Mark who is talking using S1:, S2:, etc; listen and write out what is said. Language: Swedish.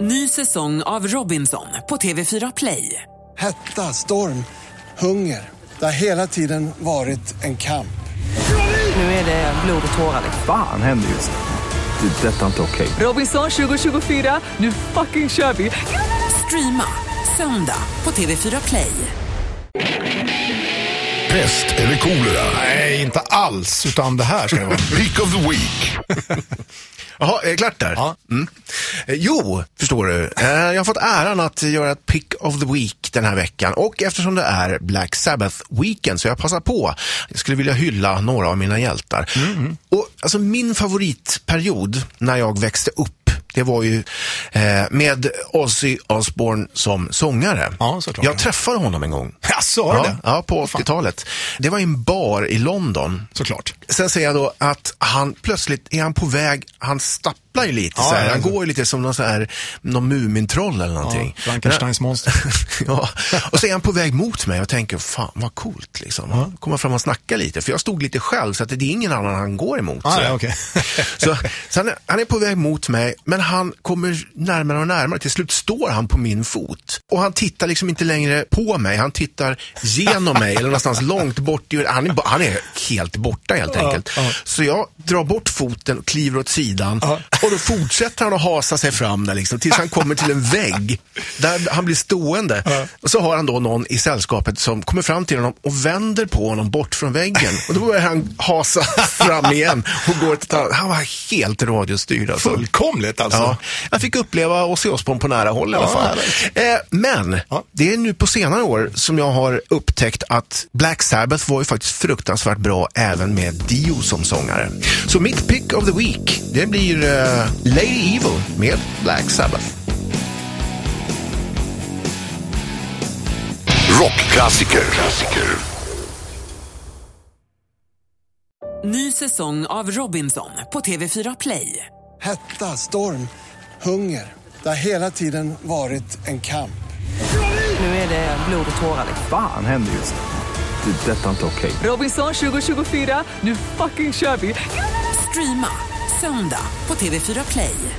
S1: Ny säsong av Robinson på TV4 Play.
S2: Hetta, storm, hunger. Det har hela tiden varit en kamp.
S1: Nu är det blod och tårar.
S3: liksom.
S4: Fan händer just nu. Det. är Detta är inte okej.
S1: Robinson 2024, nu fucking kör vi! Streama söndag på TV4 Play.
S5: Pest eller kolera?
S6: Nej, inte alls. Utan det här ska det vara.
S5: Pick of the week.
S6: Jaha, är det klart där? Ja. Mm. Eh, Jo, förstår du. Eh, Jag har fått äran att göra ett pick of the week den här veckan. Och eftersom det är Black Sabbath Weekend så jag passar på. Jag skulle vilja hylla några av mina hjältar.
S4: Mm-hmm.
S6: Och alltså min favoritperiod när jag växte upp det var ju eh, med Ozzy Osbourne som sångare.
S4: Ja, såklart.
S6: jag träffade honom en gång.
S4: Jaså, har du
S6: ja,
S4: det?
S6: ja, på 80-talet. Det var i en bar i London.
S4: Såklart.
S6: Sen säger jag då att han plötsligt är han på väg, han stapplar ju lite
S4: Ja,
S6: så här.
S4: ja,
S6: Han
S4: ja.
S6: går ju lite som någon så här, någon Mumintroll eller någonting.
S4: Ja, Frankensteins monster.
S6: ja. Och så är han på väg mot mig och tänker, fan vad coolt liksom. Han kommer fram och snackar lite, för jag stod lite själv så att det är ingen annan han går emot.
S4: Ah,
S6: så
S4: ja, okej.
S6: så, så han, är, han är på väg mot mig, men han kommer närmare och närmare. Till slut står han på min fot. Och han tittar liksom inte längre på mig, han tittar genom mig eller någonstans långt bort. i- Han är, ba- han är helt borta helt enkelt.
S4: ja.
S6: Så jag drar bort foten och kliver åt sidan.
S4: Ja.
S6: Och då fortsätter han att hasa sig fram där liksom, tills han kommer till en vägg. Där han blir stående. Och så har han då någon i sällskapet som kommer fram till honom och vänder på honom bort från väggen. Och då börjar han hasa fram igen och går till Han var helt radiostyrd alltså.
S4: Fullkomligt alltså.
S6: Ja, jag fick uppleva Ozzy Osbourne på nära håll i alla
S4: Ja,
S6: fall. Eh, men
S4: Ja.
S6: det är nu på senare år som jag har upptäckt att Black Sabbath var ju faktiskt fruktansvärt bra även med Dio som sångare. Så mitt pick of the week, det blir eh, Lady Evil med Black Sabbath.
S5: Rockklassiker. Klassiker.
S1: Ny säsong av Robinson på TV4 Play.
S2: Hetta, storm, hunger. Det har hela tiden varit en kamp.
S3: Nu är det blod och tårar. liksom.
S4: Fan händer just nu. Det. är Detta är inte okej.
S3: Robinson 2024, nu fucking kör vi!
S1: Streama söndag på TV4 Play.